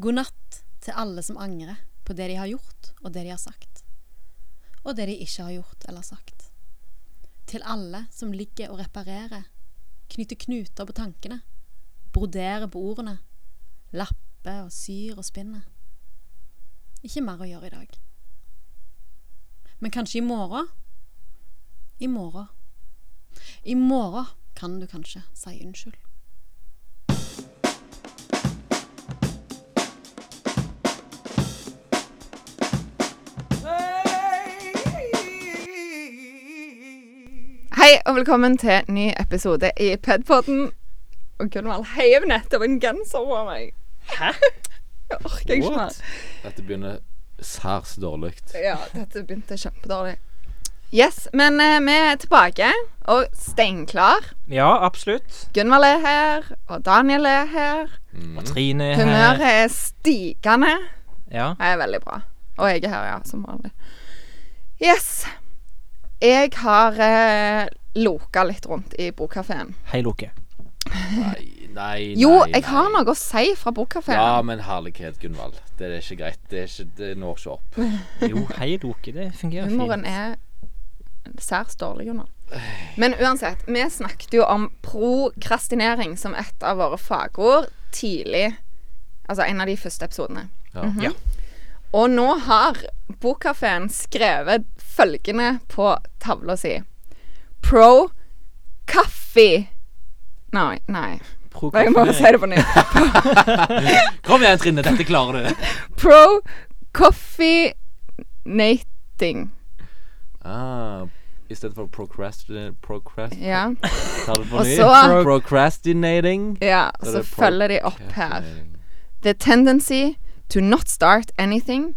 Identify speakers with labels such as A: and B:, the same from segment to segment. A: God natt til alle som angrer på det de har gjort, og det de har sagt. Og det de ikke har gjort eller sagt. Til alle som ligger og reparerer, knytter knuter på tankene, broderer på ordene, lapper og syr og spinner. Ikke mer å gjøre i dag. Men kanskje i morgen? I morgen. I morgen kan du kanskje si unnskyld.
B: Hei og velkommen til ny episode i E Pedpodden. Og Gunvald heiv nettopp en genser på meg.
C: Hæ?
B: Jeg orker ikke mer.
D: Dette begynner særs dårlig.
B: Ja, dette begynte kjempedårlig. Yes, men eh, vi er tilbake og steinklar.
C: Ja, absolutt.
B: Gunvald er her, og Daniel er her.
C: Og Trine er her.
B: Humøret er stigende.
C: Ja.
B: Det er veldig bra. Og jeg er her, ja, som vanlig. Yes. Jeg har eh, loka litt rundt i bokkafeen.
C: Hei, Loke.
D: Nei, nei,
B: Jo,
D: nei,
B: jeg har
D: nei.
B: noe å si fra bokkafeen.
D: Ja, men herlighet, Gunvald. Det er ikke greit. Det, er ikke, det når ikke opp.
C: Jo, hei, Loke. Det fungerer
B: Humoren
C: fint.
B: er særs dårlig, Jonas. Men uansett, vi snakket jo om prokrastinering som et av våre fagord tidlig. Altså en av de første episodene. Mhm.
D: Ja.
C: Ja.
B: Og nå har Bokkafeen skrevet følgende på tavla si. Pro kaffe. Nei, nei. Jeg må si det på nytt.
D: Kom igjen, Trine. Dette klarer du.
B: Pro coffee-nating.
D: Ah, I stedet for procrastin... Procrast...
B: Ja.
D: Ta det på
B: Og
D: ny.
B: så-
D: Procrastinating.
B: ja.
D: Så
B: Så
D: det er
B: følger de opp her.
D: Procrastinating.
B: The tendency to not start anything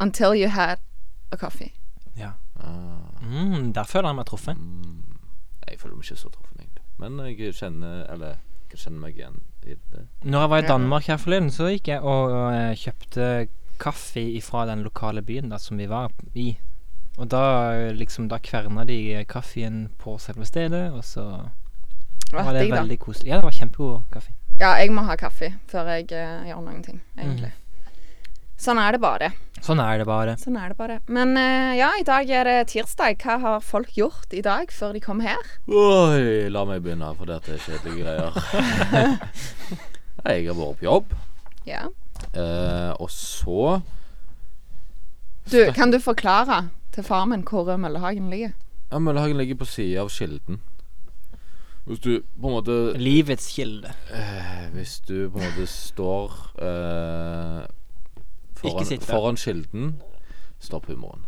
B: until you had a coffee.
C: Ja.
D: Ah,
C: Mm, der føler jeg meg truffet.
D: mm. Jeg føler meg ikke så truffet, egentlig. Men jeg kjenner Eller jeg kjenner meg igjen i det.
C: Når jeg var i
B: Ja.
C: Danmark her forleden, så gikk jeg og eh, kjøpte kaffe fra den lokale byen da, som vi var i. Og da eh, liksom, da kverna de kaffen på selve stedet, og så
B: Det
C: var
B: var
C: det
B: digg, da.
C: veldig koselig. Ja, det var kjempegod kaffe. Mm.
B: Ja, jeg må ha kaffe før jeg eh, gjør noen ting, egentlig.
C: Mhm.
B: Sånn er det bare.
C: Sånn er det bare.
B: Sånn er det bare. Men eh, ja, i dag er det tirsdag. Hva har folk gjort i dag før de kom her?
D: Oi, la meg begynne, for dette er kjedelige greier. Nei, jeg har vært på jobb,
B: Ja.
D: eh, og så
B: Du, kan du forklare til far min hvor Rød Møllehagen ligger?
D: Ja, Møllehagen ligger på sida av Kilden. Hvis du på en måte
C: Livets kilde.
D: eh, Hvis du på en måte står eh,
C: Ikke
D: foran,
C: sitte.
D: foran Kilden Stopp humoren.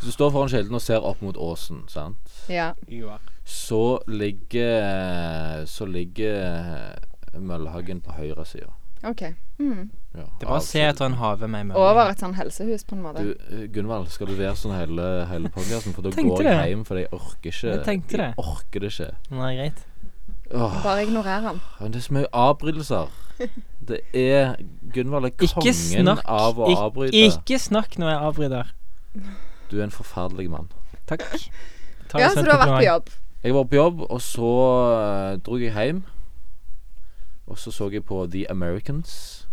D: Hvis du står foran Kilden og ser opp mot åsen, sant,
B: Ja.
D: så ligger Så ligger Møllehagen på høyre sida.
B: OK. Mm.
D: Ja,
C: Det er bare
D: av
C: å se etter en have med meg.
B: Over et sånn helsehus, på en måte.
D: Du, eh, Gunvald, skal du være sånn hele, hele podcasten? For da
C: Tenkte
D: går jeg
C: det.
D: hjem, for jeg orker ikke.
C: Jeg tenkte det.
D: Jeg orker det ikke.
C: Nei, greit.
D: Åh,
B: Bare ignorer han.
D: men det er så mye avbrytelser. Det er Gunvald er
C: Ikke
D: kongen
C: snakk.
D: av å
C: Ik-
D: avbryte.
C: Ikke snakk når jeg avbryter.
D: Du er en forferdelig mann.
C: Takk. Ta det
B: Ja,
C: som
B: så
C: et
B: du har vært på
C: kompliment.
B: jobb.
D: Jeg var på jobb, og så eh, dro jeg hjem. Og så så jeg på The Americans.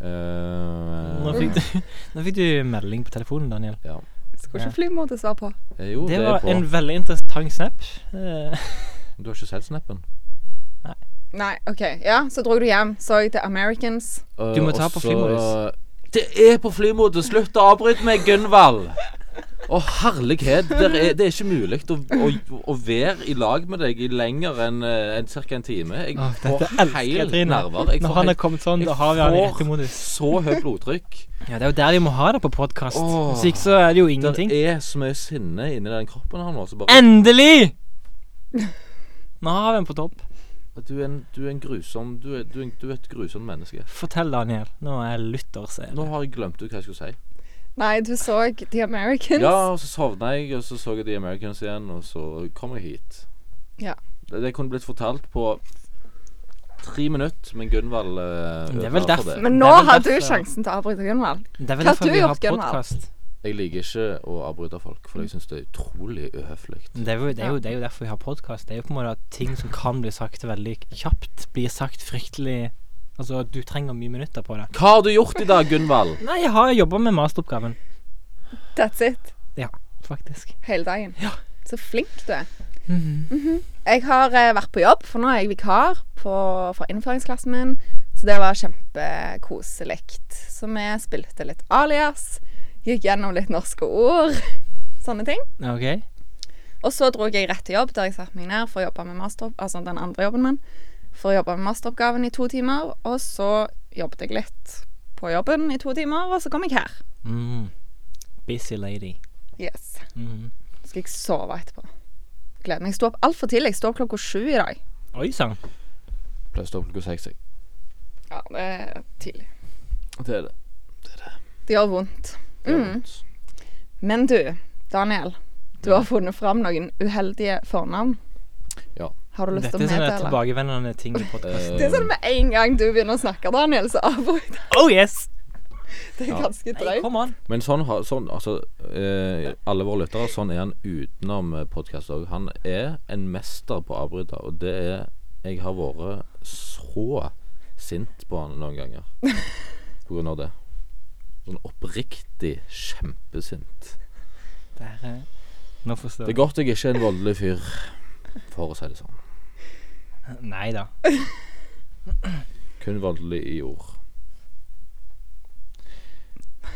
D: Eh,
C: Nå
D: Mm.
C: fikk, du, nå fikk du melding på telefonen, Daniel.
D: ja.
B: Skulle ikke flymodus være på.
D: Eh, Jo, det,
C: Det
D: er
C: var
D: på.
C: en veldig interessant snap. Eh,
D: Du har ikke sett snappen?
B: Nei, OK. Ja, så dro du hjem. Så jeg The Americans.
D: Eh,
C: Du må
D: og
C: ta på
D: så-
C: flymodus.
D: Det er på flymodus! Slutt å avbryte meg, Gunvald! Å, herlighet. Det er, det er ikke mulig å, å, å være i lag med deg i lenger enn eh, enn ca. en time. Jeg
C: Åh,
D: får
C: dette elsker jeg,
D: helt
C: Trine.
D: nerver. Jeg
C: Når
D: får,
C: han er
D: helt,
C: kommet sånn, da
D: jeg
C: har vi han i riktig
D: får
C: modus.
D: så høyt blodtrykk.
C: Ja, det er jo der vi må ha det på podkast.
D: Åh.
C: Hvis ikke så er det jo
D: Det
C: ingenting.
D: er så mye sinne inni den kroppen han har. Så bare
C: Endelig! Nå har vi en på topp.
D: du er, en, du er en grusom Du er, du er, en- du er et grusomt menneske.
C: Fortell, Daniel. Nå er Luthers
D: Nå har jeg glemt ut hva jeg skulle si.
B: Nei, du så The Americans.
D: Ja, og så sovna jeg, og så så jeg The Americans igjen, og så kom jeg hit.
B: Ja.
D: Det, det kunne blitt fortalt på tre minutter, men Gunvald eh,
C: Det er
D: ødela
C: vel
D: for
C: derfor-
B: Men
C: Det
B: nå
C: er vel
B: har du
C: derfor-
B: sjansen til å avbryte Gunvald.
C: Det er vel
B: Hva
C: derfor
B: har
C: vi
B: du
C: har
B: gjort, Gunvald?
C: podkast.
D: Jeg liker ikke å avbryte folk,
C: Mm.
D: for jeg syns det er utrolig uhøflig.
C: Det er, jo, det, er jo, det er jo derfor vi har podkast. Det er jo på en måte at ting som kan bli sagt veldig kjapt, blir sagt fryktelig Altså, du trenger mye minutter på det.
D: Hva har du gjort i dag, Gunvald?
C: Nei, jeg har jobba med masteroppgaven,
B: That's it.
C: faktisk.
B: Hele dagen.
C: Ja. Mhm.
B: Så flink du er. Jeg har eh, vært på jobb, for nå er jeg vikar på, for innføringsklassen min. Så det var kjempekoselig. Så vi spilte litt alias, gikk gjennom litt norske ord, sånne ting.
C: OK?
B: Og så dro jeg rett til jobb, der jeg satte meg ned for å jobbe med master, altså den andre jobben min, for å jobbe med masteroppgaven i to timer. Og så jobbet jeg litt på jobben i to timer, og så kom jeg her.
C: Mm. Busy lady.
B: Yes.
C: Mhm.
B: Så skal jeg sove etterpå. Gleder meg. Jeg sto opp altfor tidlig. Jeg sto opp klokka sju i dag.
C: Oi sann.
D: Pleier å stå opp klokka seks. jeg.
B: Ja, det er tidlig.
D: Det er det.
B: Det gjør vondt.
D: Det er
B: Mm.
D: vondt.
B: Men du, Daniel. Du har funnet fram noen uheldige fornavn.
D: Ja. eh,
B: Har du lyst
C: Dette
B: til å
C: er sånne
B: meddele?
C: tilbakevendende ting i podkasten.
B: Det er sånn med en gang du begynner å snakke, Daniel, så avbryter jeg.
C: Oh yes!
B: Det er
D: Ja.
B: ganske
C: Nei,
B: drøyt.
C: come on.
D: Men sånn, har- sånn altså eh, Alle våre lyttere, sånn er han utenom eh, podcast òg. Han er en mester på å avbryte, og det er Jeg har vært så sint på han noen ganger på grunn av det. Sånn oppriktig kjempesint.
C: Der, eh, nå forstår
D: Det er
C: jeg.
D: godt jeg ikke er en voldelig fyr, for å si det sånn.
C: Nei da.
D: Kun voldelig i ord.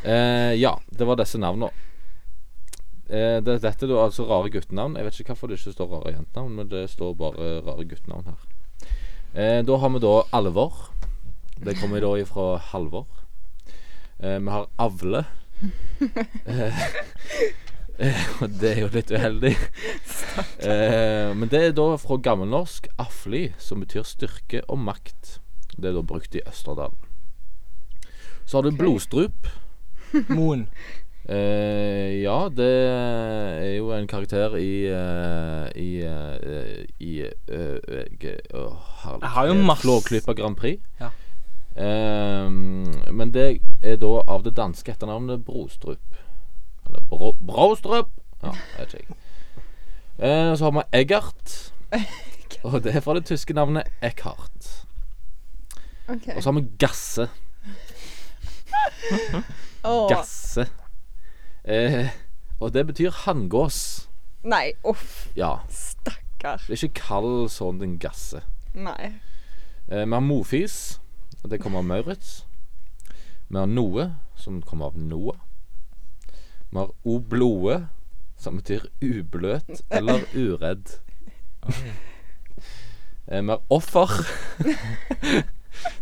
D: Eh, ja, det var disse navnene. Eh, det, dette er da altså rare guttenavn. Jeg vet ikke hvorfor det ikke står rare jentenavn, men det står bare rare guttenavn her. Eh, da har vi da Alvor. Det kommer da ifra Halvor. Eh, vi har Avle. Eh, eh, og det er jo litt uheldig. Eh, men det er da fra gammelnorsk afli, som betyr styrke og makt. Det er da brukt i Østerdalen. Så har du blodstrup.
C: Moen.
D: Eh, ja, det er jo en karakter i eh, I, eh, i eh, eh, Å, herlighet.
C: Jeg har jo masse-
D: Flåklypa Grand Prix.
C: Ja.
D: Eh, men det er da av det danske etternavnet Brostrup. Eller Bro, Brostrup! Ja, jeg vet ikke. Eh, så har vi Eggert. Og det er fra det tyske navnet Eckhart.
B: Ok.
D: Og så har vi Gasse.
B: Åh,
D: Gasse. Eh, og det betyr hanngås.
B: Nei, uff.
D: Ja.
B: Stakkar.
D: Det er ikke kall sånn den gasse.
B: Nei.
D: Eh, vi har mofis. og Det kommer av Maurits. Vi har noe, som kommer av Noah. Vi har obloe, som betyr ubløt eller uredd. Eh, vi har offer.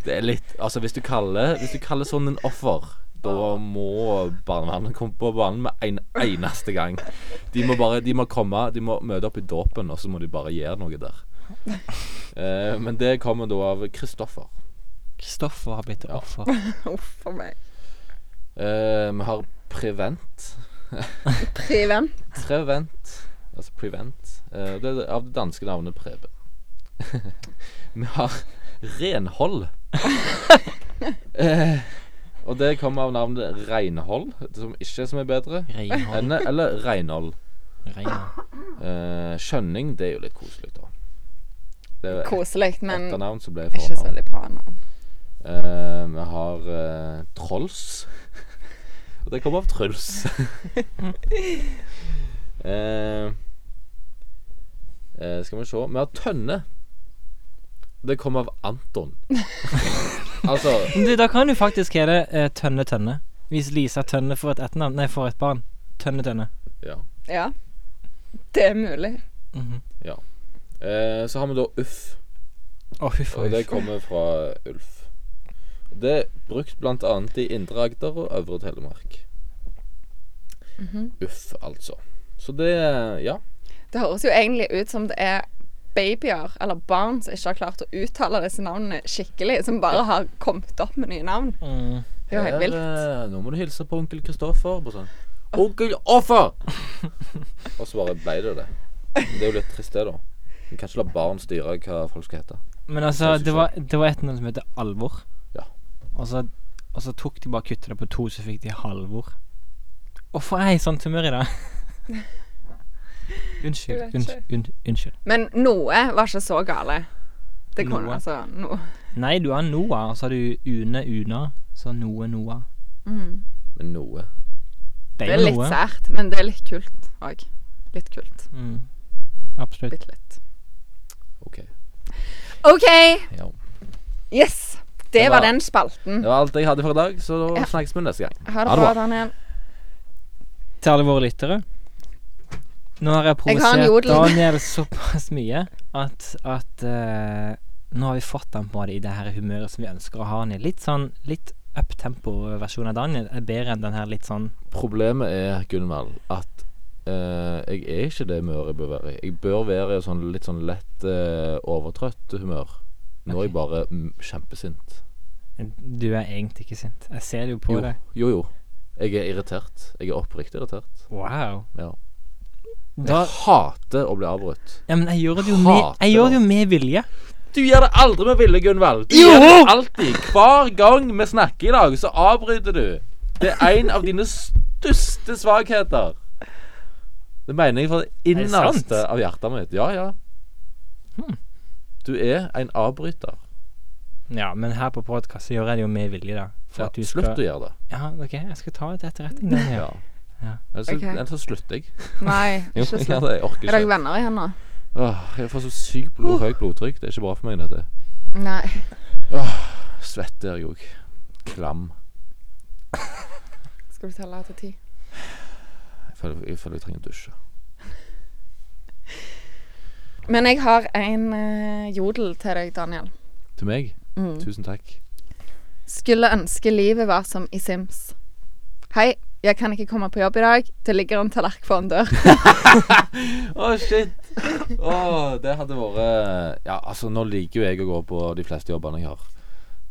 D: Det er litt Altså, hvis du kaller, hvis du kaller sånn en offer, da må barnevernet komme på banen med en eneste gang. De må bare De må komme De må møte opp i dåpen, og så må de bare gjøre noe der. Eh, men det kommer da av Kristoffer.
C: Kristoffer har blitt
D: Ja.
C: offer.
B: Uff for meg.
D: Eh, vi har Prevent.
B: Priven.
D: Prevent. Altså Prevent. Eh, det er av det danske navnet Preben. vi har renhold. eh, og det kommer av navnet Reinhold, som ikke er som er bedre.
C: Reinhold.
D: Eller, eller Reinhold.
C: Reinhold.
D: Eh, skjønning, det er jo litt koselig, da. Det er jo et
B: Koselig, men
D: etternavn som ble
B: ikke så
D: fornavn.
B: veldig bra navn.
D: Eh, vi har eh, Trolls. Og det kommer av Truls. Eh, eh, skal vi se Vi har Tønne. Det kommer av Anton. altså
C: Men Du, da kan du faktisk hete eh, Tønne Tønne. Hvis Lisa Tønne får et etternavn Nei, får et barn. Tønne Tønne.
D: Ja.
B: Ja. Det er mulig.
C: Mhm.
D: Eh, så har vi da Uff.
C: Å, huff og
D: Og det
C: huff.
D: kommer fra Ulf. Det er brukt bl.a. i Indre Agder og Øvre Telemark. Uff, altså. Så det Ja.
B: Det høres jo egentlig ut som det er babyer eller barn som ikke har klart å uttale disse navnene skikkelig, som bare har kommet opp med nye navn.
C: Mm.
B: Det er jo helt
D: Her,
B: vilt.
D: eh, Nå må du hilse på onkel Kristoffer. Bare sånn Onkel Offer! og så bare ble det det. Men Det er jo litt trist, det, da. Vi kan ikke la barn styre hva folk skal hete.
C: Men altså, det var, det var et navn som het Alvor.
D: Ja.
C: Og så, og så tok de bare kuttet det på to, så fikk de Halvor. Hvorfor er jeg i sånt sånn humør i dag? unnskyld.
B: Jeg vet
C: Unnskyld. unnskyld.
B: Men noe var ikke så gale. Det kunne
C: Noe.
B: altså noe.
C: Nei, du har Noah, og så har du Une Una, så Noe Noah.
B: Mm.
D: Men noe.
B: Det er litt sært, men det er litt kult òg. Litt kult.
C: Mm. Absolutt.
B: Bitte litt.
D: OK.
B: OK!
D: Ja.
B: Yes! Det,
D: Det
B: var,
D: var-
B: den spalten.
D: Det var alt jeg hadde for i dag, så da
B: Ja.
D: snakkes vi neste gang.
B: Ha
D: Ha
B: det
D: det
B: bra,
D: bra.
B: Daniel.
C: Til alle våre lyttere. Nå har jeg
B: Jeg har en
C: provosert
B: jodel.
C: Daniel såpass mye at, at eh, Nå har vi fått han på det i det her humøret som vi ønsker å ha han i. Litt sånn litt uptempo-versjon av Daniel er bedre enn den her litt sånn
D: Problemet er, Gunvald, at eh, jeg er ikke det humøret jeg bør være i. Jeg bør være i sånn litt sånn lett eh, overtrøtt humør. Nå er jeg bare mm, kjempesint.
C: eh, Du er egentlig ikke sint. Jeg ser det jo på
D: Jo,
C: deg.
D: jo, jo. Jeg er irritert. Jeg er oppriktig irritert.
C: Wow.
D: Ja.
C: Da,
D: Jeg hater å bli avbrutt.
C: ja, men jeg gjør det jo med,
D: Hater
C: jeg gjør det
D: det.
C: jo med vilje.
D: Du gjør det aldri med vilje, Gunvald. Du
C: Jo!
D: gjør det alltid. Hver gang vi snakker i dag, så avbryter du. Det er en av dine største svakheter. Det mener jeg fra det
C: det sant? Hm.
D: innerste av hjertet mitt. Ja, ja. Du er en avbryter.
C: Ja, men her på podkast gjør jeg det jo med vilje, da. For
D: Ja,
C: at du
D: slutt
C: skal
D: å gjøre det.
C: Ja, OK, jeg skal ta det til etterretning. Daniel.
D: Ja.
C: Ja.
D: Ellers, så-
B: Ok.
D: ellers så slutter jeg.
B: Nei,
D: Jo,
B: ikke
D: ja,
B: slutt.
D: det, Uh. jeg orker
B: Er dere
D: ikke.
B: venner igjen nå?
D: Åh, jeg får så sykt blod, høyt blodtrykk. Det er ikke bra for meg, dette.
B: Nei.
D: Svetter jeg òg. Klam.
B: Skal du telle til ti?
D: Jeg føler jeg, føler jeg trenger å dusje.
B: Men jeg har en eh, jodel til deg, Daniel.
D: Til meg,
B: Mm.
D: tusen takk.
B: Skulle ønske livet var som i Sims. Hei, jeg kan ikke komme på jobb i dag. Det ligger en tallerken foran dør.
D: Å, shit. Å, det hadde vært Ja, altså, nå liker jo jeg å gå på de fleste jobbene jeg har.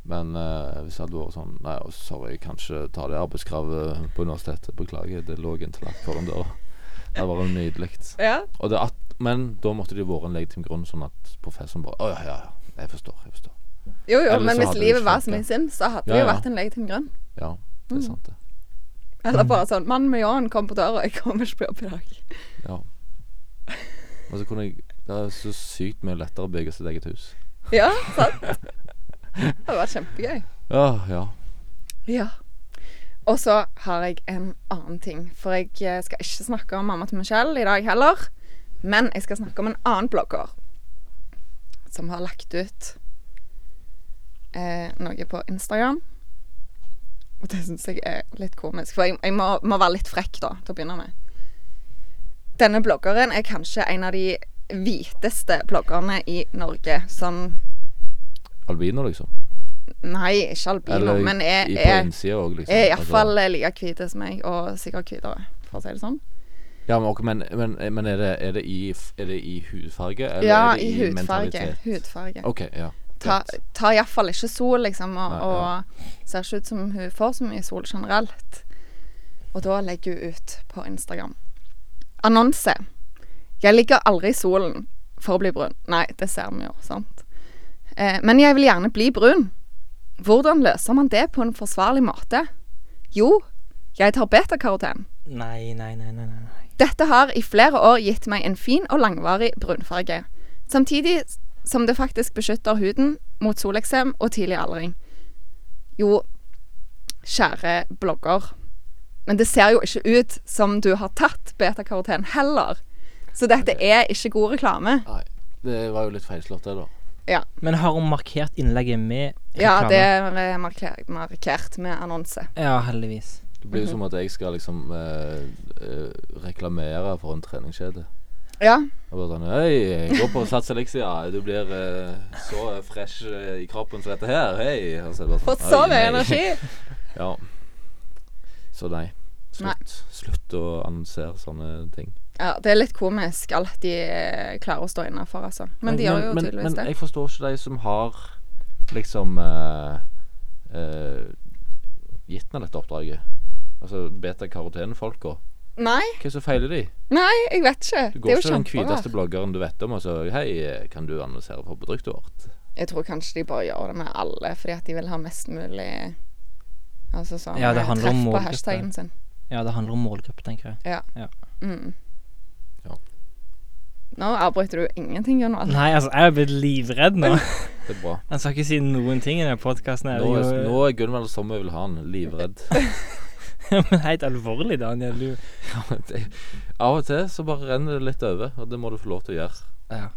D: Men eh, hvis det hadde vært sånn Nei, å, sorry, kanskje ta det arbeidskravet på universitetet. Beklager, det lå en tallerken foran døra. Det hadde vært nydelig.
B: Ja.
D: Og det at, men da måtte det jo vært en legitim grunn, sånn at professoren bare Å ja, ja, ja, jeg forstår. Jeg forstår.
B: Jo, jo,
D: Ellers
B: men
D: så
B: hvis
D: hadde det
B: livet
D: ikke
B: var
D: skjedd,
B: som i
D: ja.
B: Sims, så hadde
D: Ja,
B: det jo
D: ja.
B: vært en legitim grunn.
D: Ja, det er sant, det.
B: Eller bare sånn 'Mannen med ljåen kom på døra, jeg kommer ikke på jobb i dag'.
D: Ja. Og så kunne jeg Det er så sykt mye lettere å bygge sitt eget hus.
B: Ja, sant? Det hadde vært kjempegøy.
D: Ja, ja.
B: Ja. Og så har jeg en annen ting. For jeg eh, skal ikke snakke om mamma til Michelle i dag heller. Men jeg skal snakke om en annen blogger som har lagt ut eh, noe på Instagram. Og det syns jeg er litt komisk, for jeg, jeg må, må være litt frekk da, til å begynne med. Denne bloggeren er kanskje en av de hviteste bloggerne i Norge. Sånn
D: Albino, liksom.
B: Nei, ikke albino,
D: Eller
B: men er,
D: i, på
B: er
D: innsida òg, liksom.
B: er
D: Altså-
B: iallfall eh, like hvite som meg, og sikkert hvitere, for å si det sånn.
D: Ja, men, ok, men, men, men er, det, er, det i, f- er det i hudfarge? Eller
B: Ja,
D: er det
B: i hudfarge.
D: mentalitet?
B: hudfarge.
D: Ok, ja.
B: Ta,
D: greit.
B: tar iallfall ikke sol, liksom, og,
D: Nei, ja.
B: og ser ikke ut som hun får så mye sol generelt. Og da legger hun ut på Instagram. Annonse. Jeg ligger aldri i solen for å bli brun. Nei, det ser vi jo, sant. Eh, men jeg vil gjerne bli brun. Hvordan løser man det på en forsvarlig måte? Jo, jeg tar betakaroten.
C: Nei, nei, nei, nei, nei. nei.
B: Dette har i flere år gitt meg en fin og langvarig brunfarge. Samtidig som det faktisk beskytter huden mot soleksem og tidlig aldring. Jo, kjære blogger. Men det ser jo ikke ut som du har tatt betakaroten heller. Så dette er ikke god reklame.
D: Nei, det var jo litt feilslått, det, da.
C: Men har hun markert innlegget med reklame?
B: Ja, det er markert, markert med annonse.
C: Ja, heldigvis.
D: Det
B: Mhm.
D: blir jo som at jeg skal liksom eh, eh, reklamere for en treningskjede.
B: Ja,
D: Og bare sånn Hei, gå på Sats Elixia. Du blir eh, så fresh eh, i kroppen som dette her. Hei. Og så er det bare sånn,
B: fått så
D: «Oi,
B: mye
D: nei».
B: energi.
D: Ja. Så nei. Slutt,
B: Nei.
D: slutt å annonsere sånne ting.
B: Ja, det er litt komisk alt de eh, klarer å stå innafor, altså. Men de gjør jo tydeligvis
D: men
B: det.
D: jeg forstår ikke de som har liksom eh, eh, gitt meg dette oppdraget. Altså beta-karotene-folka.
B: Nei.
D: Hva er det som feiler de?
B: Nei, jeg vet ikke.
D: Du
B: Det er
D: går
B: jo
D: ikke til den
B: kjempebra.
D: hviteste bloggeren du vet om og så Hei, kan du annonsere for produktet vårt?
B: Jeg tror kanskje de bare gjør det med alle fordi at de vil ha mest mulig Altså sånn
C: Ja, det
B: eh,
C: handler
B: treff
C: om
B: på
C: målgruppe.
B: hashtagen sin.
C: Ja, det handler om målgruppe, tenker jeg.
B: Mm.
D: Ja.
B: Nå avbryter du ingenting, Gunvald.
C: Nei, altså, jeg er blitt livredd nå.
D: Det er bra.
C: Han skal ikke si noen ting i denne podkasten.
D: Nå er, nå er Gunvald som vi vil ha han, livredd.
C: Men helt alvorlig, Daniel. Du.
D: Det- Av og til så bare renner det litt over, og det må du få lov til å gjøre.
C: Ja.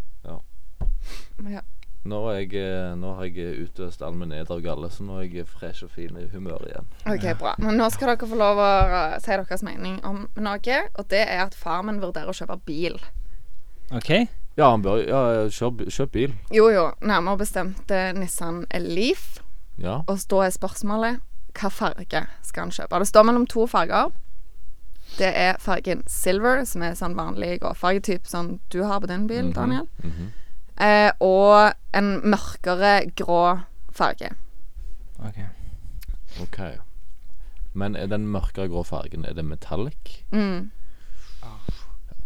B: Ja.
D: Nå, er jeg, eh, nå har jeg utøst all min eder og galle, så nå er jeg fresh og fin i humør igjen.
B: OK, bra. Men nå skal dere få lov å eh, si deres mening om noe, og det er at far min vurderer å kjøpe bil.
C: OK?
D: Ja, han bør ja, kjøp, kjøp bil.
B: Jo, jo, nærmere bestemt eh, Nissan Leaf.
D: Ja.
B: Og så er spørsmålet hva farge skal han kjøpe? Det står mellom to farger. Det er fargen silver, som er sånn vanlig gråfarge, typ sånn du har på din bil,
D: Mhm,
B: Daniel.
D: mhm.
B: Eh, og en mørkere grå farge.
C: ok
D: OK. Men er den mørkere grå fargen, er det metallic?
B: Mm.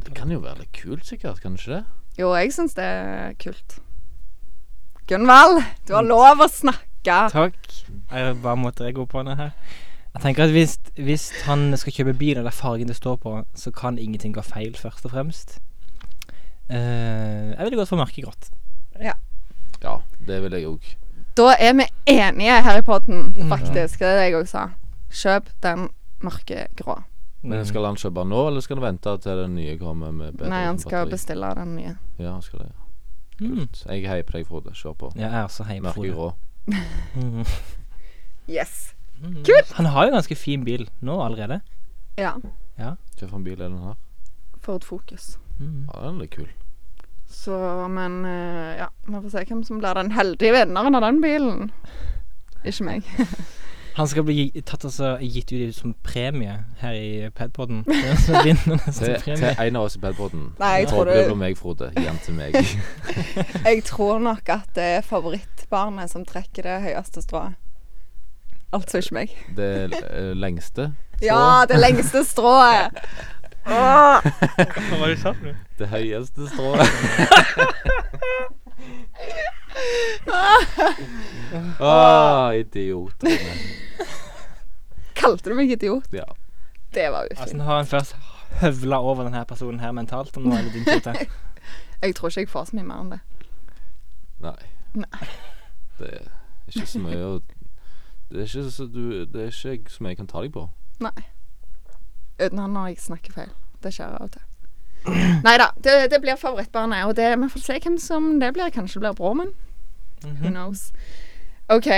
D: Det kan jo være litt kult, sikkert. Kan det ikke det?
B: Jo, jeg syns det er kult. Gunvald, du
D: Mm.
B: har lov å snakke.
C: Takk. Jeg bare måtte jeg gå på det her. Jeg tenker at hvis, hvis han skal kjøpe bil, eller fargen det står på, så kan ingenting gå feil, først og fremst. Eh, jeg ville gått for mørkegrått.
D: Ja, det vil jeg òg.
B: Da er vi enige her i podden,
D: Mhm.
B: faktisk. Det er det jeg òg sa. Kjøp den mørkegrå.
D: Men skal han kjøpe nå, eller skal han vente til den nye kommer med bedre
B: Nei, han skal
D: batteri?
B: bestille den nye.
D: Ja, han skal det.
C: Mm.
D: Kult. Jeg heier på deg, Frode. Kjør på.
C: Ja, jeg er også hjemme.
D: Mørkegrå.
C: Mm.
B: Yes.
C: Kult! Han har jo ganske fin bil nå allerede.
B: Ja.
D: Hvilken bil er den her?
B: Ford Focus.
C: Mm.
D: Ja, den er litt kul.
B: Så, men eh, ja, vi får se hvem som blir den heldige vinneren av den bilen. Ikke meg.
C: Han skal bli gi- tatt altså, gitt ut som premie her i E Padpoden. Den som vinner neste
D: Til, til
C: premie.
D: en av oss i Padpoden.
B: Nei, jeg tror
D: Frode
B: det-
D: blir meg, Frode. Gi den til meg.
B: Jeg tror nok at det er favorittbarnet som trekker det høyeste strået. Altså ikke meg.
D: Det eh, lengste.
B: Ja, det lengste strået! Åh,
C: Hva var det du sa for noe?
D: Det høyeste strået. ah, idioter.
B: kalte du meg idiot?
D: Ja.
B: Det var
C: Altså,
B: ufint.
C: nå har han først høvla over denne personen her mentalt, og nå er det din tur til.
B: Jeg tror ikke jeg får så mye mer enn det.
D: Nei.
B: Nei.
D: Det er ikke så mye å Det er ikke så du Det er ikke som jeg kan ta deg på.
B: Uten han når jeg snakker feil. Det skjer av og til. Nei da, det, det blir favorittbarnet. Og det, vi får se hvem som det blir. Kanskje det blir broren min. Who
C: Mm.
B: knows. OK.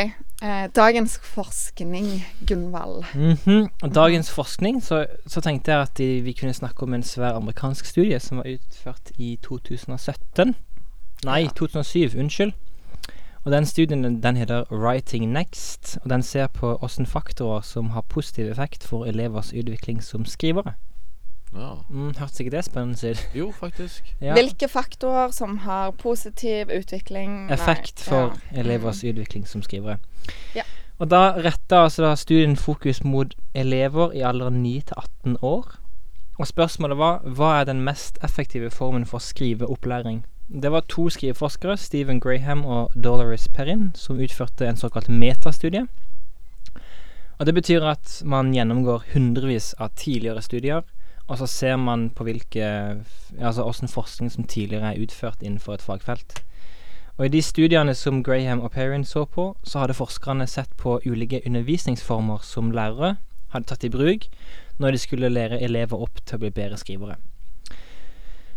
B: Eh, dagens forskning, Gunvald.
C: Mhm. Og dagens forskning, så, så tenkte jeg at de, vi kunne snakke om en svær amerikansk studie som var utført i 2017. Nei, 2007. Unnskyld. Og den studien den- den heter 'Writing Next', og den ser på hvilke faktorer som har positiv effekt for elevers utvikling som skrivere.
D: Ja.
C: Mm, Hørtes ikke det spennende ut?
D: Jo, faktisk.
C: Ja.
B: Hvilke faktorer som har positiv utvikling nei,
C: effekt for
B: ja.
C: elevers utvikling som skrivere.
B: Ja.
C: Og da retta altså da studien fokus mot elever i alderen 9 til 18 år. Og spørsmålet var hva er den mest effektive formen for skriveopplæring? Det var to skriveforskere, Stephen Graham og Dolores Perrin, som utførte en såkalt metastudie. Og det betyr at man gjennomgår hundrevis av tidligere studier, og så ser man på hvilke Altså åssen forskning som tidligere er utført innenfor et fagfelt. Og I de studiene som Graham og Perrin så på, så hadde forskerne sett på ulike undervisningsformer som lærere hadde tatt i bruk når de skulle lære elever opp til å bli bedre skrivere.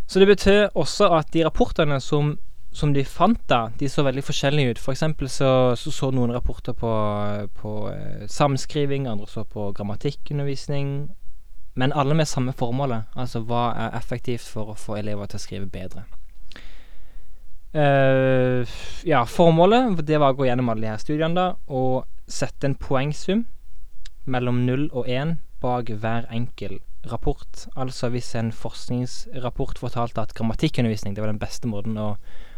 C: Så det betød også at de rapportene som, som de fant da, de så veldig forskjellige ut. For eksempel så, så så noen rapporter på, på eh, samskriving, andre så på grammatikkundervisning. Men alle med samme formålet, altså hva er effektivt for å få elever til å skrive bedre. Eh, ja, formålet det var å gå gjennom alle de her studiene da, og sette en poengsum mellom 0 og 1 bak hver enkel rapport. Altså hvis en forskningsrapport fortalte at grammatikkundervisning det var den beste måten å,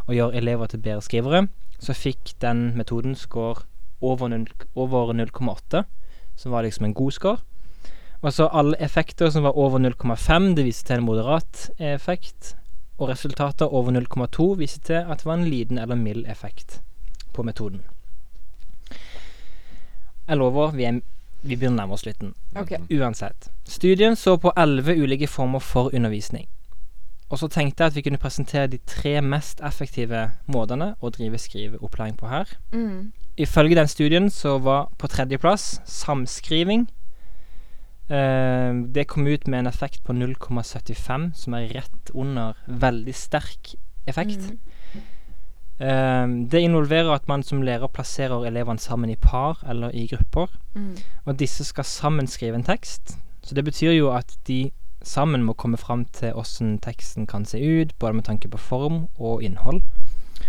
C: å gjøre elever til bedre skrivere, så fikk den metoden score over null- over 0,8, som var liksom en god score. Og så alle effekter som var over 0,5, det viste til en moderat effekt og resultatet over 0,2 viser til at det var en liten eller mild effekt på metoden. Jeg lover, vi, er, vi begynner å nærme oss slutten.
B: Ok.
C: Uansett. Studien så på elleve ulike former for undervisning. Og så tenkte jeg at vi kunne presentere de tre mest effektive måtene å drive skriveopplæring på her.
B: Mm.
C: Ifølge den studien så var på tredjeplass samskriving. Eh, det kom ut med en effekt på 0,75, som er rett under veldig sterk effekt.
B: Mm.
C: Eh, det involverer at man som lærer plasserer elevene sammen i par eller i grupper,
B: Mm.
C: og disse skal sammen skrive en tekst. Så det betyr jo at de sammen må komme fram til hvordan teksten kan se ut, både med tanke på form og innhold.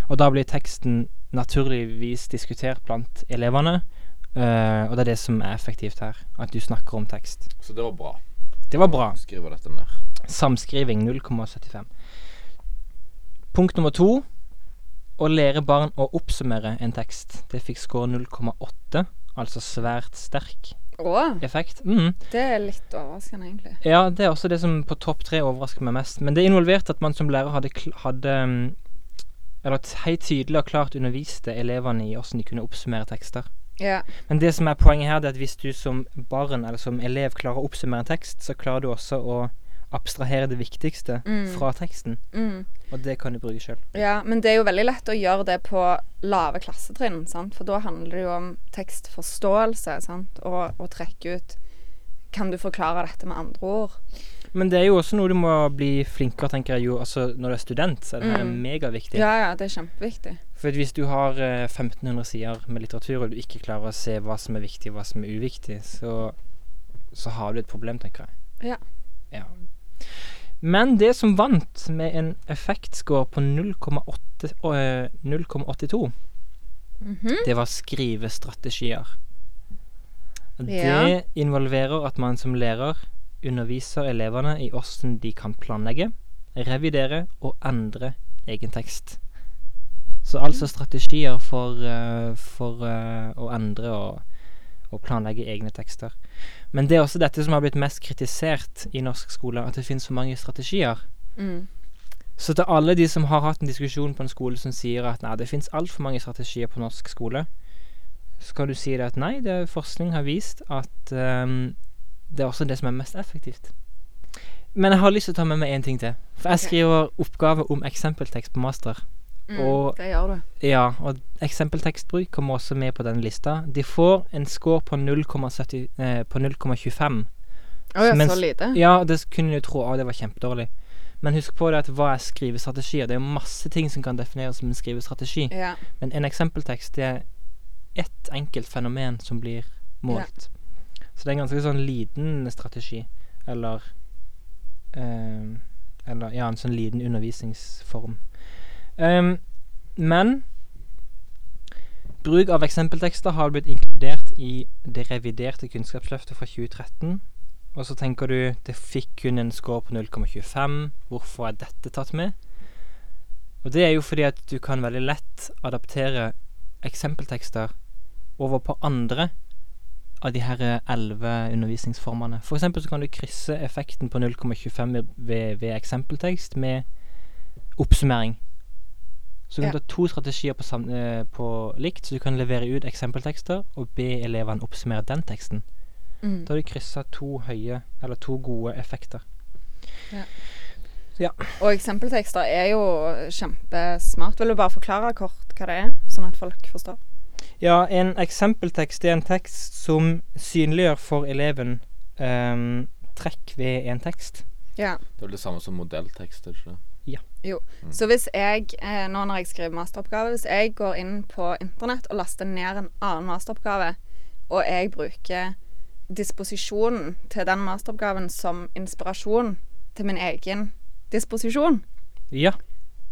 C: Og da blir teksten naturligvis diskutert blant elevene, eh, og det er det som er effektivt her, at du snakker om tekst.
D: Så det var bra.
C: Det var bra.
D: Skriver dette ned.
C: Samskriving 0,75. Punkt nummer to å lære barn å oppsummere en tekst. Det fikk score 0,8, altså svært sterk
B: Å,
C: effekt. Mm.
B: det er litt overraskende, egentlig.
C: Ja, det er også det som på topp tre overrasker meg mest. Men det involverte at man som lærer hadde, kl- hadde mm, Eller t- helt tydelig og klart underviste elevene i hvordan de kunne oppsummere tekster.
B: Ja.
C: Men det som er poenget her, det er at hvis du som barn eller som elev klarer å oppsummere en tekst, så klarer du også å abstrahere det viktigste
B: Mm.
C: fra teksten.
B: Mm.
C: Og det kan du bruke sjøl.
B: Ja, men det er jo veldig lett å gjøre det på lave klassetrinn, sant? for da handler det jo om tekstforståelse, sant? Og, og trekke ut Kan du forklare dette med andre ord?
C: Men det er jo også noe du må bli flinkere, tenker jeg jo. Altså når du er student, så er det her
B: Mm.
C: megaviktig.
B: Ja, ja, det er kjempeviktig.
C: For hvis du har eh, 1500 sider med litteratur, og du ikke klarer å se hva som er viktig, og hva som er uviktig, så, så har du et problem, tenker jeg.
B: Ja.
C: ja. Men det som vant med en effektscore på 0,8 og, eh, 0,82,
B: Mhm.
C: det var skrivestrategier. Og Det
B: Ja.
C: involverer at man som lærer underviser elevene i hvordan de kan planlegge, revidere og endre egen tekst. Så
B: Mhm.
C: altså strategier for, eh, for eh, å endre og, og planlegge egne tekster. Men det er også dette som har blitt mest kritisert i norsk skole, at det finnes for mange strategier.
B: mm.
C: Så til alle de som har hatt en diskusjon på en skole som sier at nei, det fins altfor mange strategier på norsk skole, så kan du si det at nei, det, forskning har vist at ehm, det er også det som er mest effektivt. Men jeg har lyst til å ta med meg én ting til. For jeg
B: Ok.
C: skriver oppgave om eksempeltekst på master.
B: Mm,
C: Og-
B: det gjør du.
C: Ja, og eksempeltekstbruk kommer også med på den lista. De får en score på 0,70 eh, på 0,25.
B: Å ja,
C: mens-
B: så lite?
C: Ja, det kunne du tro. Å, det var kjempedårlig. Men husk på det at hva er skrivestrategier? Det er jo masse ting som kan defineres som en skrivestrategi.
B: Ja.
C: Men en eksempeltekst det er ett enkelt fenomen som blir målt. Så det er en ganske sånn liten strategi. Eller eh, Eller ja, en sånn liten undervisningsform. Ehm, men bruk av eksempeltekster har blitt inkludert i det reviderte Kunnskapsløftet fra 2013. Og så tenker du det fikk kun en score på 0,25. Hvorfor er dette tatt med? Og det er jo fordi at du kan veldig lett adaptere eksempeltekster over på andre av de her elleve undervisningsformene. For eksempel så kan du krysse effekten på 0,25 ved- ved, ved eksempeltekst med oppsummering. Så du kan
B: Ja.
C: ta to strategier på, sam, eh, på likt, så du kan levere ut eksempeltekster og be elevene oppsummere den teksten.
B: Mm.
C: Da har de kryssa to høye, eller to gode effekter.
B: Og eksempeltekster er jo kjempesmart. Vil du bare forklare kort hva det er, sånn at folk forstår?
C: Ja, en eksempeltekst er en tekst som synliggjør for eleven ehm, trekk ved en tekst.
B: Ja.
D: Det er vel det samme som modelltekst, er det ikke det?
B: Så hvis jeg, eh, nå når jeg skriver masteroppgave, hvis jeg går inn på internett og laster ned en annen masteroppgave, og jeg bruker disposisjonen til den masteroppgaven som inspirasjon til min egen disposisjon,
C: Ja,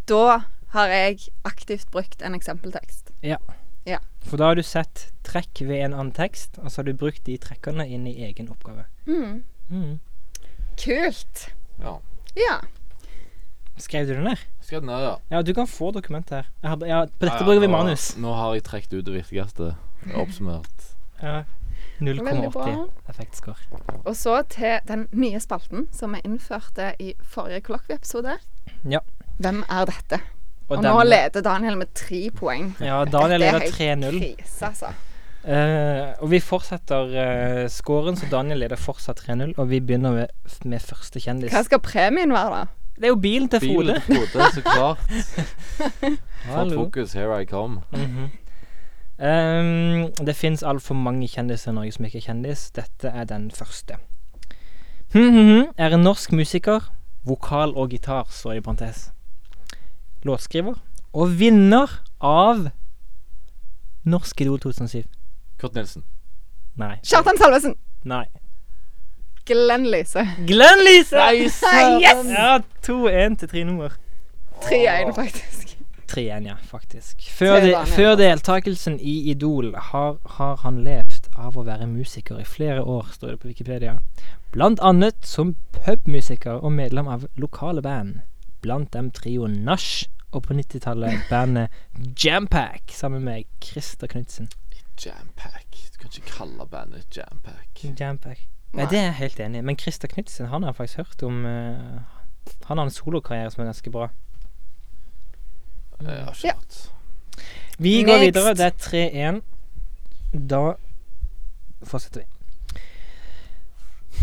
B: da har jeg aktivt brukt en eksempeltekst.
C: for da har du sett trekk ved en annen tekst, og så har du brukt de trekkene inn i egen oppgave.
B: Mm.
C: Mm.
B: Kult!
D: Ja.
B: Ja.
C: Skrev du det ned?
D: Skal den ned, ja.
C: Ja, du kan få dokumentet her. Jeg har, ja, på
D: Ja,
C: dette
D: ja,
C: bruker vi
D: nå-
C: manus.
D: Nå har jeg trukket ut det viktigste. Oppsummert.
C: Ja.
B: Veldig
C: 0,80
B: bra.
C: effektscore.
B: Og så til den nye spalten som vi innførte i forrige kollokvieepisode.
C: Ja.
B: Hvem er dette? Og, nå
C: denne-
B: leder Daniel med tre poeng.
C: Ja, Daniel leder
B: Dette er helt
C: 3-0.
B: Krise, altså.
C: Eh, og vi fortsetter eh, scoren, så Daniel leder fortsatt 3-0. Og vi begynner med, med første kjendis.
B: Hva skal premien være, da?
C: Det er jo bilen til
D: Bilen
C: Frode.
D: til Frode, så klart. Fått
C: Hallo.
D: fokus, here I come.
C: Mhm. Ehm, det fins altfor mange kjendiser i Norge som ikke er kjendis. Dette er den første. Hm, hm, hm, er en norsk musiker. Vokal og gitar, står i parentes. Låtskriver. Og vinner av Norsk Idol 2007.
D: Kurt Nilsen.
C: Nei.
B: Kjartan Salvesen.
C: Nei.
B: Glenn Lyse.
C: Glenn Lise!
B: Yes!
C: Ja, 2-1 til Trine-mor.
B: 3-1, faktisk.
C: 3-1, ja, faktisk. Før,
B: Tre
C: de,
B: damer,
C: før deltakelsen i Idol har, har han levd av å være musiker i flere år, står det på Wikipedia. Blant annet som pubmusiker og medlem av lokale band. Blant dem trioen Nash, og på 90-tallet bandet Jampack sammen med Christer Knutsen.
D: Jampack. Du kan ikke kalle bandet Jampack.
C: Jampack.
B: Nei.
C: Ja, det er jeg helt enig i, men Christer Knutsen han har jeg faktisk hørt om eh, Han har en solokarriere som er ganske bra. Mm.
D: Eh, Jeg har ikke
B: Ja.
D: hørt.
C: Vi går
B: Next.
C: videre. Det er 3-1. Da fortsetter vi.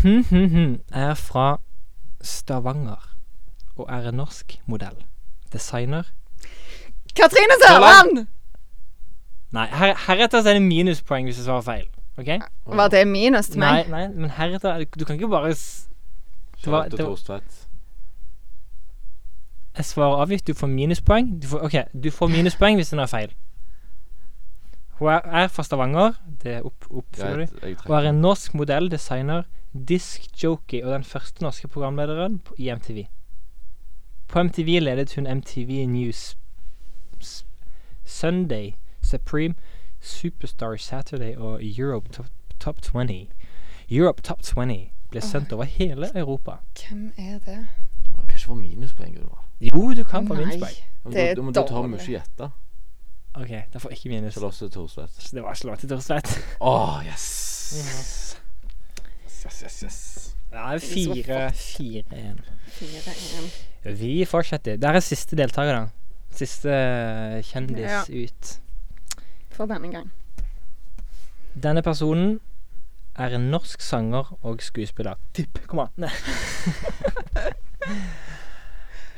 C: Hm, hm, hm er fra Stavanger og er en norsk modell. Designer
B: Katrine Sørland!
C: Nei, her, heretter så er det minuspoeng hvis du svarer feil. OK?
B: Var det minus til
C: Nei,
B: meg?
C: nei, men heretter er det- Du kan ikke bare s- Det var-
D: Charlotte
C: det var-
D: Thorstvedt.
C: Jeg svarer avgitt. Du får minuspoeng. Du får, OK, du får minuspoeng hvis den er feil. Hun er, er fra Stavanger. Det opp, oppfyller du.
D: Greit, jeg
C: og er
D: trekker.
C: en norsk modell, designer, diskjockey og den første norske programlederen på- i MTV. På MTV ledet hun MTV News S- Sunday, Supreme, Superstar Saturday og Europe Top, Top 20. Europe Top 20 ble sendt over hele Europa.
B: Hvem er det?
D: Det kan ikke få minuspoeng. du, da.
C: Jo, du kan få minuspoeng.
D: Men
B: Det er
D: du- Men du tar
B: dårlig.
D: mye gjette.
C: OK, da får jeg ikke minus.
D: Charlotte Thorstvedt.
C: Det var slått, rett og slett.
D: Åh, yes. Yes, yes, yes.
C: Nei, fire, fire, en.
B: 4-1.
C: Vi fortsetter. Der er siste deltaker, da. Siste eh, kjendis
B: Ja.
C: ut.
B: For denne gang.
C: Denne personen er en norsk sanger og skuespiller. Tipp. Kom an. Nei.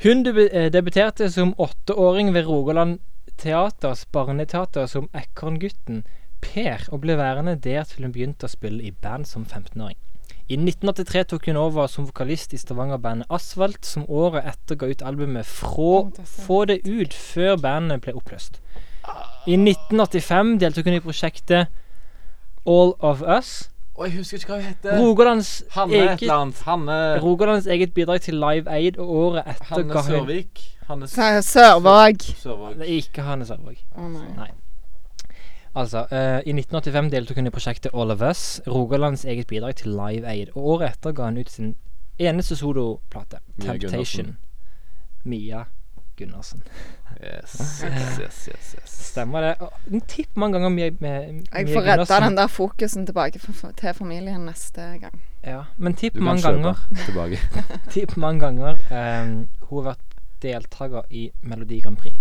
C: Hun debu eh, debuterte som åtteåring ved Rogaland Teaters barneteater som Ekorngutten Per, og ble værende der til hun begynte å spille i band som 15-åring. I 1983 tok hun over som vokalist i Stavanger-bandet Asfalt, som året etter ga ut albumet Frå Få det ut, før bandet ble oppløst. I 1985 deltok hun i prosjektet All of Us.
D: Å, jeg husker ikke hva hun heter.
C: Rogalands
D: Hanne et eller
C: eget,
D: annet. Hanne,
C: Rogalands eget bidrag til Live Aid, og året etter
D: Hanne
C: ga hun
D: Sørvik. Hanne S-
B: Sørvåg.
D: Sørvåg.
C: Det er Ikke Hanne Sørvåg.
B: Å nei.
C: Altså, eh, I 1985 deltok hun i prosjektet All of Us, Rogalands eget bidrag til Live Aid. Og året etter ga hun ut sin eneste soloplate,
D: Mia
C: Temptation. Mia Gunnarsen.
D: Yes, yes, yes, yes, yes.
C: Stemmer det. Og Tipp mange ganger Mia, med, Mia
B: Jeg får redda den der fokusen tilbake for, til familien neste gang.
C: Ja, men tipp
D: Du kan
C: mange
D: kjøpe
C: ganger.
D: tilbake.
C: Tipp mange ganger. eh, hun har vært deltaker i Melodi Grand Prix.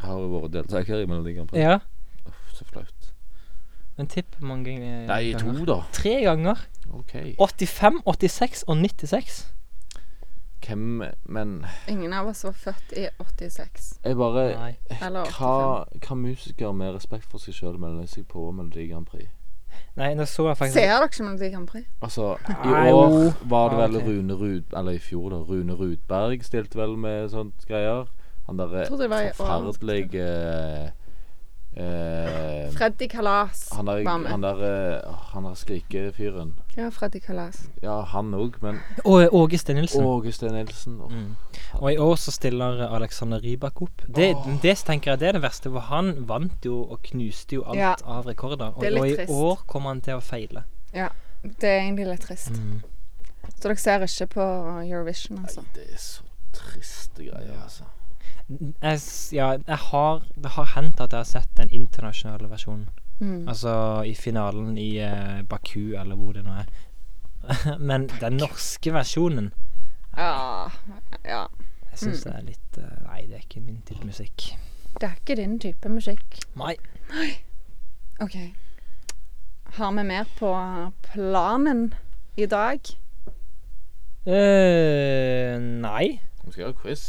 D: Har hun vært deltaker i Melodi Grand Prix?
C: Ja,
D: Uff, så flaut.
C: men tipp mange eh, ganger.
D: Nei, to, da.
C: Tre ganger.
D: OK.
C: 85, 86 og 96.
D: Hvem Men
B: Ingen av oss var født i 86
D: jeg bare
C: Nei.
B: eller 85.
D: Hva, hva musiker med respekt for seg sjøl melder seg på Melodi Grand Prix?
C: Nei, nå så jeg faktisk
B: Ser dere ikke Melodi Grand Prix?
D: Altså, i
C: Nei,
D: år
C: jo.
D: var det
C: Ah,
D: vel
C: ok.
D: Rune Rud... Eller i fjor, da. Rune Rudberg stilte vel med sånt greier. Han derre
B: Jeg trodde det var i år.
D: forferdelige eh,
B: Freddy Kalas
D: Han der,
B: var med.
D: han der, eh, han der skrikefyren.
B: Ja, Freddy Kalas.
D: Ja, han òg, men
C: Og eh, Åge Stenilsen.
D: Åge Steen Nilsen åh.
C: Mm. Og i år så stiller Alexander Rybak opp. Det,
D: Åh.
C: det tenker jeg det er det verste, for han vant jo og knuste jo alt
B: Ja.
C: av rekorder. Og,
B: Det er litt
C: og i
B: trist.
C: år kommer han til å feile.
B: Det er egentlig litt trist. Så dere ser ikke på Eurovision, altså.
D: Nei, det er så triste greier, altså.
C: Jeg, s- ja, jeg har, det har hendt at jeg har sett den internasjonale versjonen.
B: Mm.
C: Altså i finalen i eh, Baku, eller hvor det nå er. Men den norske versjonen
B: Ja, ja.
C: Jeg syns
B: Mm.
C: det er litt eh, Nei, det er ikke min type musikk.
B: Det er ikke din type musikk.
C: Nei.
B: OK. Har vi mer på planen i dag?
C: Eh, nei.
D: Vi skal gjøre quiz.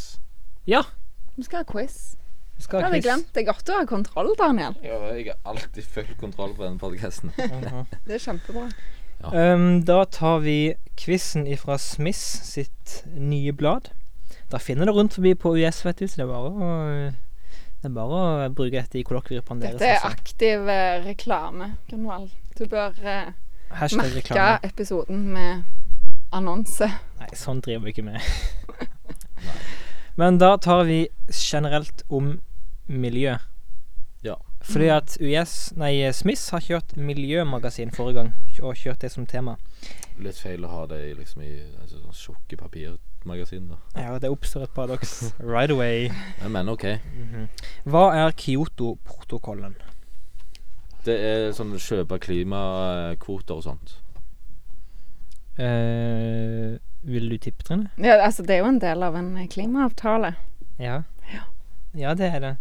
B: Vi skal ha quiz.
C: Vi
B: Det
C: skal ha
B: hadde jeg
C: quiz.
B: glemt. Det er godt å ha kontroll, Daniel.
D: Ja, jeg har alltid full kontroll på denne podkasten.
C: Mhm.
B: Det er kjempebra.
C: Ehm, da tar vi quizen ifra Smiths sitt nye blad. Da finner det rundt forbi på US, vet du, så det er bare å, det er bare å bruke dette i kollokviepene deres.
B: Dette er
C: altså.
B: aktiv eh, reklame, Gunvald. Du bør eh,
C: Hashtag
B: merke
C: reklame.
B: episoden med annonse.
C: Nei, sånn driver vi ikke med. Men da tar vi generelt om miljø.
D: Ja.
C: Fordi at US, nei, Smiths har kjørt miljømagasin forrige gang, og kjørt det som tema.
D: Litt feil å ha det i liksom i altså, sånn tjukke papirmagasin, da.
C: Ja, det oppstår et paradoks right away.
D: Men, men OK.
C: Hva er Kyoto-protokollen?
D: Det er sånn kjøpe klimakvoter og sånt.
C: Eh, vil du tippe, Trine?
B: Ja, altså, det er jo en del av en eh, klimaavtale.
C: Ja. Ja, det er det.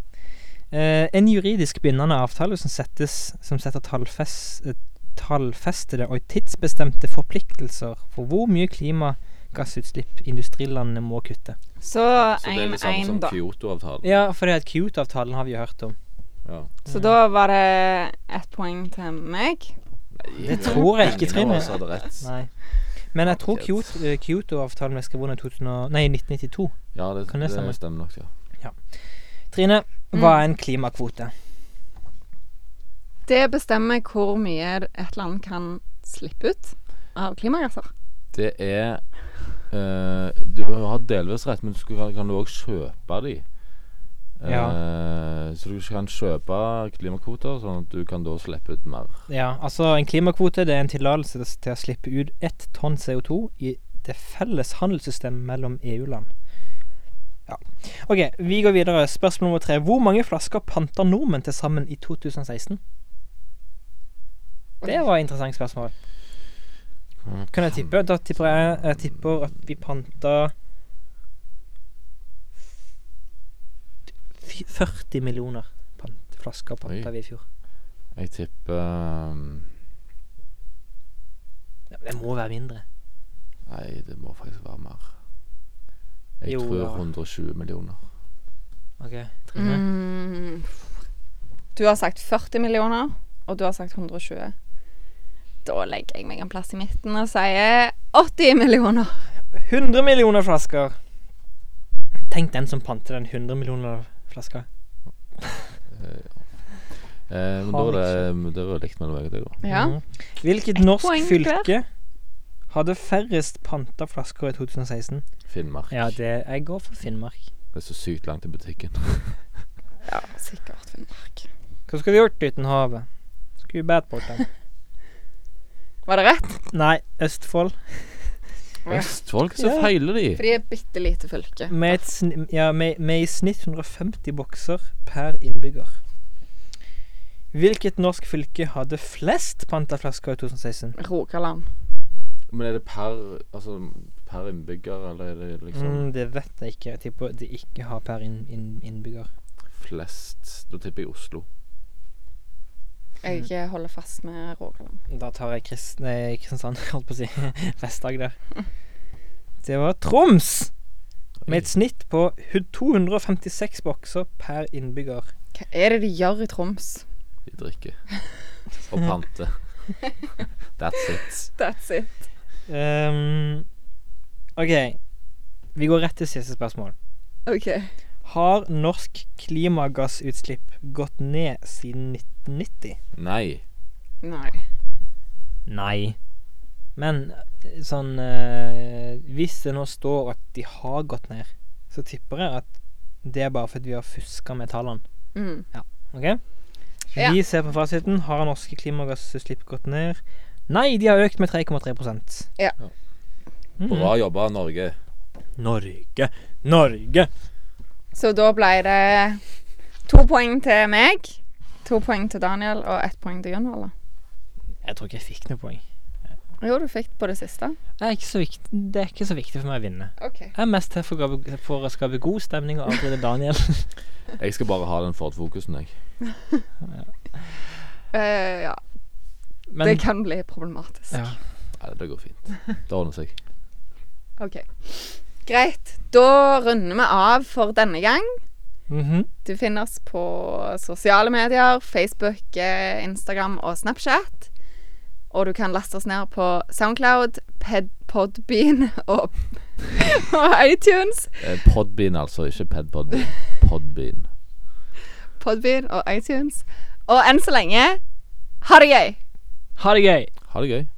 C: Eh, en juridisk bindende avtale som, settes, som setter tallfest, eh, tallfestede og tidsbestemte forpliktelser for hvor mye klimagassutslipp industrilandene må kutte.
B: Så
D: Så det er litt samme
B: 1-1,
D: som
B: da.
D: Kyoto-avtalen.
C: Ja, for det er at Kyoto-avtalen har vi jo hørt om.
D: Ja.
B: Så da var det ett poeng til meg.
D: Nei,
C: Det tror jeg ikke,
D: ingen av
C: Trine.
D: oss altså, hadde rett.
C: Nei. Men jeg tror
D: Ok.
C: Kyoto- eh, Kyoto-avtalen ble skrevet under i 2000 og- nei, 1992.
D: Ja, det,
C: Kan det
D: det
C: stemme?
D: stemmer nok, ja.
C: Trine, hva er en klimakvote?
B: Det bestemmer hvor mye et land kan slippe ut av klimagasser.
D: Det er eh, Du har delvis rett, men du skal, kan du òg kjøpe de. Eh, Så du kan kjøpe klimakvoter, sånn at du kan da slippe ut mer.
C: Ja, altså en klimakvote det er en tillatelse til- til å slippe ut ett tonn CO2 i det felles handelssystemet mellom EU-land. Ja. OK, vi går videre. Spørsmål nummer tre. Hvor mange flasker panter nordmenn til sammen i 2016? Det var et interessant spørsmål. Kan jeg tippe? Da tipper jeg, jeg tipper at vi panta Fy- 40 millioner pant, flasker panta
D: Oi.
C: vi i fjor.
D: Jeg tipper ehm,
C: Ja, Det må være mindre.
D: Nei, det må faktisk være mer. Jeg
C: Jo,
D: tror
C: ja.
D: 120 millioner.
C: Ok, Trine.
B: Mm. Du har sagt 40 millioner, og du har sagt 120. Da legger jeg meg en plass i midten og sier 80 millioner.
C: 100 millioner flasker. Tenk den som panter den 100 millioner flaska.
D: Eh, men da
C: Har
D: er det, det var likt mellom meg og deg, da.
B: Ja.
C: Mhm. Hvilket
B: Ett
C: norsk
B: poeng
C: fylke hadde færrest panta flasker i 2016?
D: Finnmark.
C: Ja, det Jeg går for Finnmark.
D: Det er så sykt langt til butikken.
B: ja sikkert Finnmark.
C: Hva skulle vi gjort uten havet? Skulle vi båret bort den?
B: Var det rett?
C: Nei, Østfold.
B: Ja.
D: Østfold, så
C: Ja.
D: feiler de!
B: For de er et bitte lite fylke.
C: Med, et sn ja, med, med i snitt 150 bokser per innbygger. Hvilket norsk fylke hadde flest panta flasker i 2016?
B: Rogaland.
D: Men er det per, altså, per innbygger, eller er det liksom
C: Mm, det vet jeg ikke. Jeg tipper de ikke har per inn, inn, innbygger.
D: flest? Da tipper jeg Oslo.
B: Jeg
D: Mhm.
B: eh, holder fast med Rogaland.
C: Da tar jeg Kris nei, Kristiansand, holdt på å si. Vest-Agder. Det var Troms! Med et snitt på hu- 256 bokser per innbygger.
B: Hva er det de gjør i Troms?
D: De drikker. Og panter. That's it.
B: That's it.
C: Ehm, OK. Vi går rett til siste spørsmål.
B: OK.
C: Har norsk klimagassutslipp gått ned siden 1990?
D: Nei.
B: Nei.
C: Nei. Men eh, sånn eh, Hvis det nå står at de har gått ned, så tipper jeg at det er bare fordi vi har fuska med tallene.
B: Mm.
C: Ok?
B: Ja.
C: Vi ser på fasiten. Har norske klimagassutslipp gått ned? Nei, de har økt med 3,3
B: Ja.
D: Ja.
C: Mm.
D: Bra jobba, Norge.
C: Norge, Norge.
B: Så da ble det to poeng til meg, to poeng til Daniel og ett poeng til Gunvald. da.
C: Jeg tror ikke jeg fikk noe poeng.
B: Jo, du fikk på det siste.
C: Det er ikke så viktig, det er ikke så viktig for meg å vinne.
B: OK.
C: Jeg er mest her for å skape- for å skape god stemning og avbryte Daniel.
D: Jeg skal bare ha den Ford-fokusen, jeg.
B: Eh, ja.
C: Men
B: det kan bli problematisk.
C: ja.
D: Nei, det går fint. Det ordner seg.
B: OK. Greit. Da runder vi av for denne gang.
C: Mhm.
B: Du finner oss på sosiale medier, Facebook, eh, Instagram og Snapchat. Og du kan laste oss ned på Soundcloud, Ped Podbean og, og iTunes.
D: Eh, Podbean, altså. Ikke Pedpodbean. Podbean.
B: Podbean og iTunes. Og enn så lenge, ha det gøy!
C: Ha det gøy!
D: Ha det gøy.